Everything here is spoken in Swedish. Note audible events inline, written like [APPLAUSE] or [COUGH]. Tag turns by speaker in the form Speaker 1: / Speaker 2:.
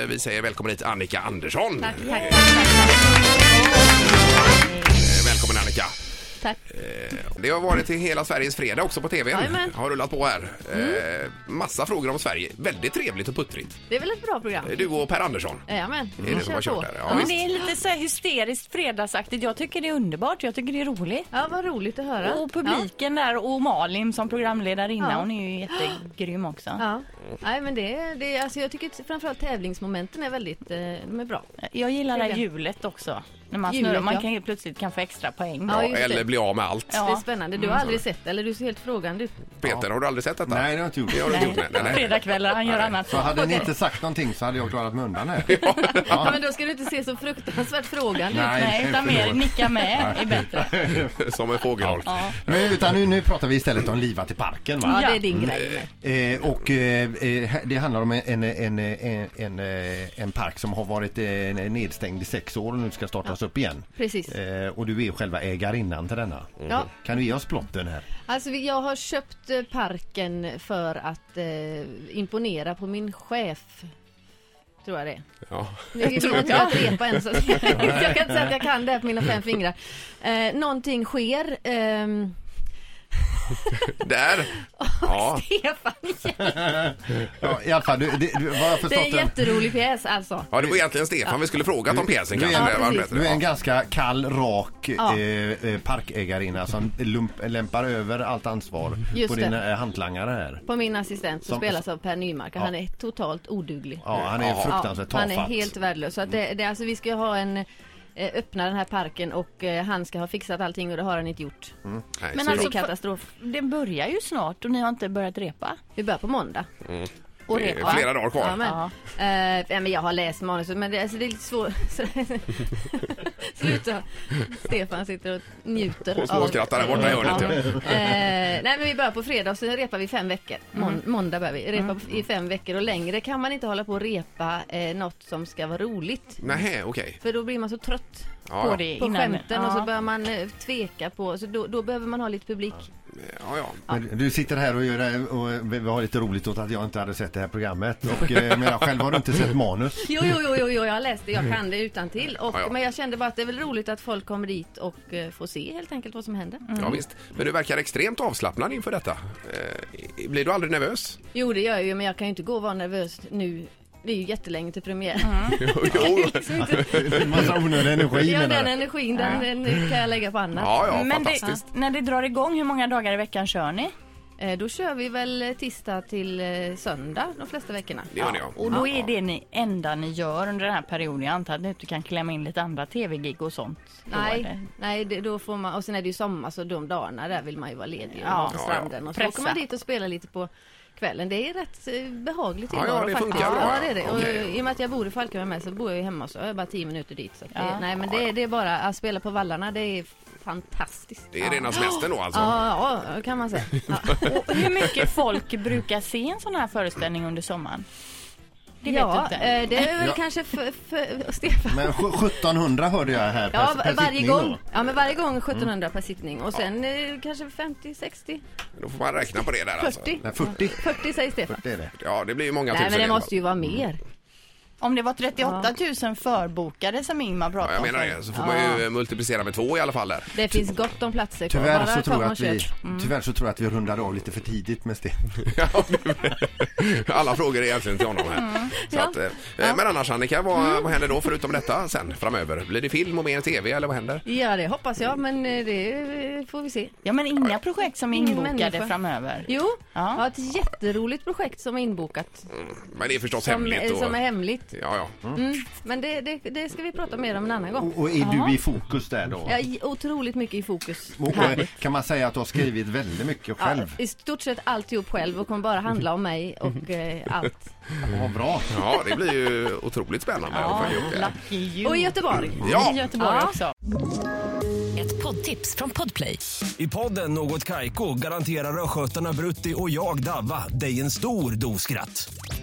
Speaker 1: eh, vi säger välkommen hit Annika Andersson.
Speaker 2: Tack, tack, tack, tack.
Speaker 1: Eh, Välkommen Annika.
Speaker 2: tack.
Speaker 1: Eh, Det har varit i hela Sveriges fredag också på TV.
Speaker 2: Jajamän. Mm.
Speaker 1: Har rullat på här. Eh, Massa frågor om Sverige. Väldigt trevligt och puttrigt.
Speaker 2: Det är väl ett bra program?
Speaker 1: Eh, Du och Per Andersson.
Speaker 2: Jajamän,
Speaker 1: det som har kört
Speaker 2: på.
Speaker 1: där, ja.
Speaker 2: Ja,
Speaker 3: Men det är lite så här hysteriskt fredagsaktigt. Jag tycker det är underbart. Jag tycker det är roligt.
Speaker 2: Ja, vad roligt att höra.
Speaker 3: Och publiken där och Malin som programledarinna,
Speaker 2: Ja.
Speaker 3: hon är ju jättegrym också.
Speaker 2: Ja. Ja. Nej, men det, det, alltså jag tycker att framförallt tävlingsmomenten är väldigt eh, de är bra.
Speaker 3: Jag gillar det här
Speaker 2: Trevliga.
Speaker 3: hjulet också. När man
Speaker 2: Hjulet,
Speaker 3: snurrar, man
Speaker 2: ja.
Speaker 3: kan helt plötsligt kan få extra poäng.
Speaker 2: Ja, just det.
Speaker 1: eller bli av med allt.
Speaker 3: Ja.
Speaker 2: Det är spännande. Du har
Speaker 1: Mm.
Speaker 2: aldrig sett det, eller du ser helt frågande ut.
Speaker 1: Peter, har du aldrig sett detta?
Speaker 4: Nej, det har jag inte gjort.
Speaker 1: Det har du inte gjort. Nej,
Speaker 3: [LAUGHS]
Speaker 1: nej, nej.
Speaker 3: Fredagskvällar, han gör annat.
Speaker 4: Så hade ni inte sagt någonting så hade jag klarat mig undan här.
Speaker 2: [LAUGHS] Ja. Men då ska du inte se så fruktansvärt frågande ut.
Speaker 4: Nej,
Speaker 3: Nej, utan mer
Speaker 4: förlåt.
Speaker 3: nicka med är bättre.
Speaker 1: Som en fågelholk.
Speaker 4: Men utan nu, nu pratar vi istället om livat i parken va?
Speaker 2: Ja,
Speaker 3: Ja.
Speaker 2: det är din grej.
Speaker 4: Eh, och eh, eh, det handlar om en, en, en, en, eh, en park som har varit eh, nedstängd i sex år och nu ska startas upp igen.
Speaker 2: Precis.
Speaker 4: Eh, och du är själva ägarinnan till denna.
Speaker 2: Ja.
Speaker 4: Kan du ge oss plotten här?
Speaker 2: Alltså vi- jag har köpt eh, parken för att eh, imponera på min chef. Tror jag det är.
Speaker 1: Ja.
Speaker 2: Jag tror inte jag repa än så [LAUGHS] att- jag kan inte säga att jag kan det här på mina fem fingrar. Eh, någonting sker. ehm,
Speaker 1: Där! Ja.
Speaker 2: Stefan,
Speaker 4: Ja, I alla fall, du, det, du, vad jag
Speaker 2: det är en
Speaker 4: förstått
Speaker 2: jätterolig pjäs alltså.
Speaker 1: ja, det var egentligen Stefan vi skulle frågat om pjäsen
Speaker 4: Du är-
Speaker 1: kanske.
Speaker 4: Ja,
Speaker 1: Det var
Speaker 2: precis.
Speaker 1: bättre.
Speaker 4: Du är en
Speaker 1: Ja.
Speaker 4: ganska kall, rak
Speaker 2: Ja.
Speaker 4: eh, eh, parkägarinna som lump, lämpar över allt ansvar
Speaker 2: Just
Speaker 4: på
Speaker 2: det.
Speaker 4: dina eh, hantlangare här.
Speaker 2: På min assistent som,
Speaker 4: Som-
Speaker 2: spelas av Per Nymark. Han är totalt oduglig.
Speaker 4: Ja, han är
Speaker 1: Ja.
Speaker 4: fruktansvärt
Speaker 2: han
Speaker 4: tafatt.
Speaker 2: är helt värdelös. Så att det, det, alltså, vi ska ju ha en eh, öppna den här parken och eh, han ska ha fixat allting och det har han inte gjort.
Speaker 4: Mm.
Speaker 1: Nej,
Speaker 3: Men
Speaker 1: så-
Speaker 2: Så det
Speaker 3: alltså-
Speaker 2: är katastrof.
Speaker 3: Det börjar ju snart och ni har inte börjat repa.
Speaker 2: Vi börjar på måndag.
Speaker 3: Och
Speaker 1: det är
Speaker 3: repa.
Speaker 1: flera dagar kvar.
Speaker 2: Ja, men,
Speaker 3: Ja.
Speaker 2: Eh, ja, men jag har läst manuset men det, alltså, det är lite svårt. Så- [LAUGHS] Sluta. Stefan sitter och njuter.
Speaker 1: Och småskrattar där borta i hörnet, ja.
Speaker 2: Eh, nej men vi börjar på fredag och sen repar vi fem veckor. Mån, Måndag börjar vi. Repa i fem veckor och längre kan man inte hålla på och repa eh, något som ska vara roligt.
Speaker 1: Nähä, okej.
Speaker 2: För då blir man så trött
Speaker 1: Ja,
Speaker 3: det
Speaker 2: på
Speaker 3: innan.
Speaker 2: skämten och
Speaker 3: Ja.
Speaker 2: så börjar man eh, tveka på, så då, då behöver man ha lite publik.
Speaker 1: ja, ja.
Speaker 4: Men Du sitter här och, gör, och eh, vi vi har lite roligt åt att jag inte hade sett det här programmet. Och, eh, men jag själv har du inte sett manus.
Speaker 2: Jo, jo, jo, jo, jo jag har läst det, jag kan det utan till. Och,
Speaker 1: Ja, ja.
Speaker 2: Men jag kände bara att det är väl roligt att folk kommer dit och eh, får se helt enkelt vad som händer.
Speaker 1: ja, visst. Men du verkar extremt avslappnad inför detta. Eh, blir du aldrig nervös?
Speaker 2: Jo, det gör jag ju, men jag kan ju inte gå och vara nervös nu. Det är ju jättelänge till premiär.
Speaker 1: Jo, jo.
Speaker 2: [LAUGHS] Liksom inte-
Speaker 4: En massa onödig energi
Speaker 2: Ja,
Speaker 4: menar
Speaker 2: den
Speaker 4: jag.
Speaker 2: energin den, den kan jag lägga på annat.
Speaker 1: Ja, ja,
Speaker 3: Men
Speaker 1: fantastiskt.
Speaker 3: det, när det drar igång, hur många dagar i veckan kör ni?
Speaker 2: Eh, Då kör vi väl eh, tisdag till eh, söndag de flesta veckorna.
Speaker 1: Det gör ni, ja.
Speaker 3: Och då
Speaker 1: Ja.
Speaker 3: är det ni, enda ni gör under den här perioden. Jag antar att ni inte kan klämma in lite andra tv-gig och sånt. Då är
Speaker 2: Nej,
Speaker 3: det-
Speaker 2: nej det, då får man, och sen är det ju sommar så de dagarna där vill man ju vara ledig och
Speaker 3: Ja.
Speaker 2: vara på
Speaker 3: Ja,
Speaker 1: ja.
Speaker 2: stranden. Och så
Speaker 3: Pressa.
Speaker 2: åker man dit och spelar lite på kvällen. Det är rätt eh, behagligt
Speaker 1: Ja,
Speaker 2: tillvaro
Speaker 1: ja, det
Speaker 2: faktiskt.
Speaker 1: funkar bra,
Speaker 2: Ja,
Speaker 1: ja.
Speaker 2: det är det. Och,
Speaker 1: Okej.
Speaker 2: I och med att jag bor i Falkenberg med så bor jag ju hemma så jag är bara tio minuter dit. Så att det,
Speaker 3: Ja.
Speaker 2: Nej men det, det är bara att spela på vallarna, det är fantastiskt.
Speaker 1: Det är rena semestern då alltså?
Speaker 2: Ja, ja, kan man
Speaker 4: [LAUGHS]
Speaker 2: säga. Ja.
Speaker 3: Och hur mycket folk brukar se en sån här föreställning under sommaren? Det vet du
Speaker 2: ja,
Speaker 3: inte.
Speaker 2: eh, det är väl
Speaker 4: Ja.
Speaker 2: kanske för, för Stefan.
Speaker 4: Men sj- 1700 hörde jag här per,
Speaker 2: Ja, va-
Speaker 4: per
Speaker 2: varje
Speaker 4: sittning
Speaker 2: gång.
Speaker 4: då. Mm.
Speaker 2: Ja, men varje gång 1700 per sittning och sen eh, kanske 50, 60,
Speaker 1: Då får man räkna på det där alltså.
Speaker 2: 40.
Speaker 4: Nej, 40.
Speaker 2: 40 säger Stefan.
Speaker 4: Det är det.
Speaker 1: Ja, det blir ju många
Speaker 2: Nej,
Speaker 1: tusen
Speaker 2: men
Speaker 1: i
Speaker 2: det
Speaker 1: alla
Speaker 2: måste ju vara
Speaker 4: Mm.
Speaker 2: mer.
Speaker 3: Om det var 38 000 förbokade som Ingmar
Speaker 1: fall. Ja,
Speaker 3: pratade
Speaker 1: jag
Speaker 3: om.
Speaker 1: menar det.
Speaker 3: förut.
Speaker 1: Så får man ju eh, multiplicera med två i alla fall där. [LAUGHS]
Speaker 2: Det finns gott om platser. kvar.
Speaker 4: Tyvärr
Speaker 2: Bara
Speaker 4: så,
Speaker 2: kom
Speaker 4: tror jag
Speaker 2: och
Speaker 4: att vi,
Speaker 2: köp.
Speaker 4: tyvärr så tror jag att vi rundade av lite för tidigt med Sten.
Speaker 1: Ja, alla frågor är egentligen till honom
Speaker 2: Mm.
Speaker 1: här. Så att, eh, Men annars Annika, vad, vad händer då förutom detta sen framöver? Blir det film och mer tv eller vad händer?
Speaker 2: Ja, det hoppas jag, men eh, det eh, får vi se.
Speaker 3: Ja, men inga projekt som är
Speaker 2: Ingen
Speaker 3: inbokade
Speaker 2: människa.
Speaker 3: framöver.
Speaker 2: Jo,
Speaker 3: Ja.
Speaker 2: jag har ett jätteroligt projekt som är inbokat.
Speaker 1: Mm, Men det är förstås
Speaker 2: Som,
Speaker 1: hemligt.
Speaker 2: eh,
Speaker 1: Och,
Speaker 2: som är hemligt.
Speaker 1: Ja, ja.
Speaker 2: Mm. Men det, det, det ska vi prata mer om en annan gång.
Speaker 4: Och, och är du i fokus där då?
Speaker 2: Jag är otroligt mycket i fokus.
Speaker 4: Och, eh, kan man säga att du har skrivit väldigt mycket själv?
Speaker 2: Ja, I stort sett alltihop själv och kommer bara handla om mig och eh, allt.
Speaker 4: Vad bra.
Speaker 1: ja, det blir ju otroligt spännande. att följa upp det.
Speaker 3: Lucky you.
Speaker 2: Och i Göteborg.
Speaker 1: Ja.
Speaker 3: I Göteborg
Speaker 2: Ja.
Speaker 3: också.
Speaker 5: Ett poddtips från Podplay.
Speaker 6: I podden Något Kaiko garanterar östgötarna Brutti och jag, Davva, dig en stor dos skratt.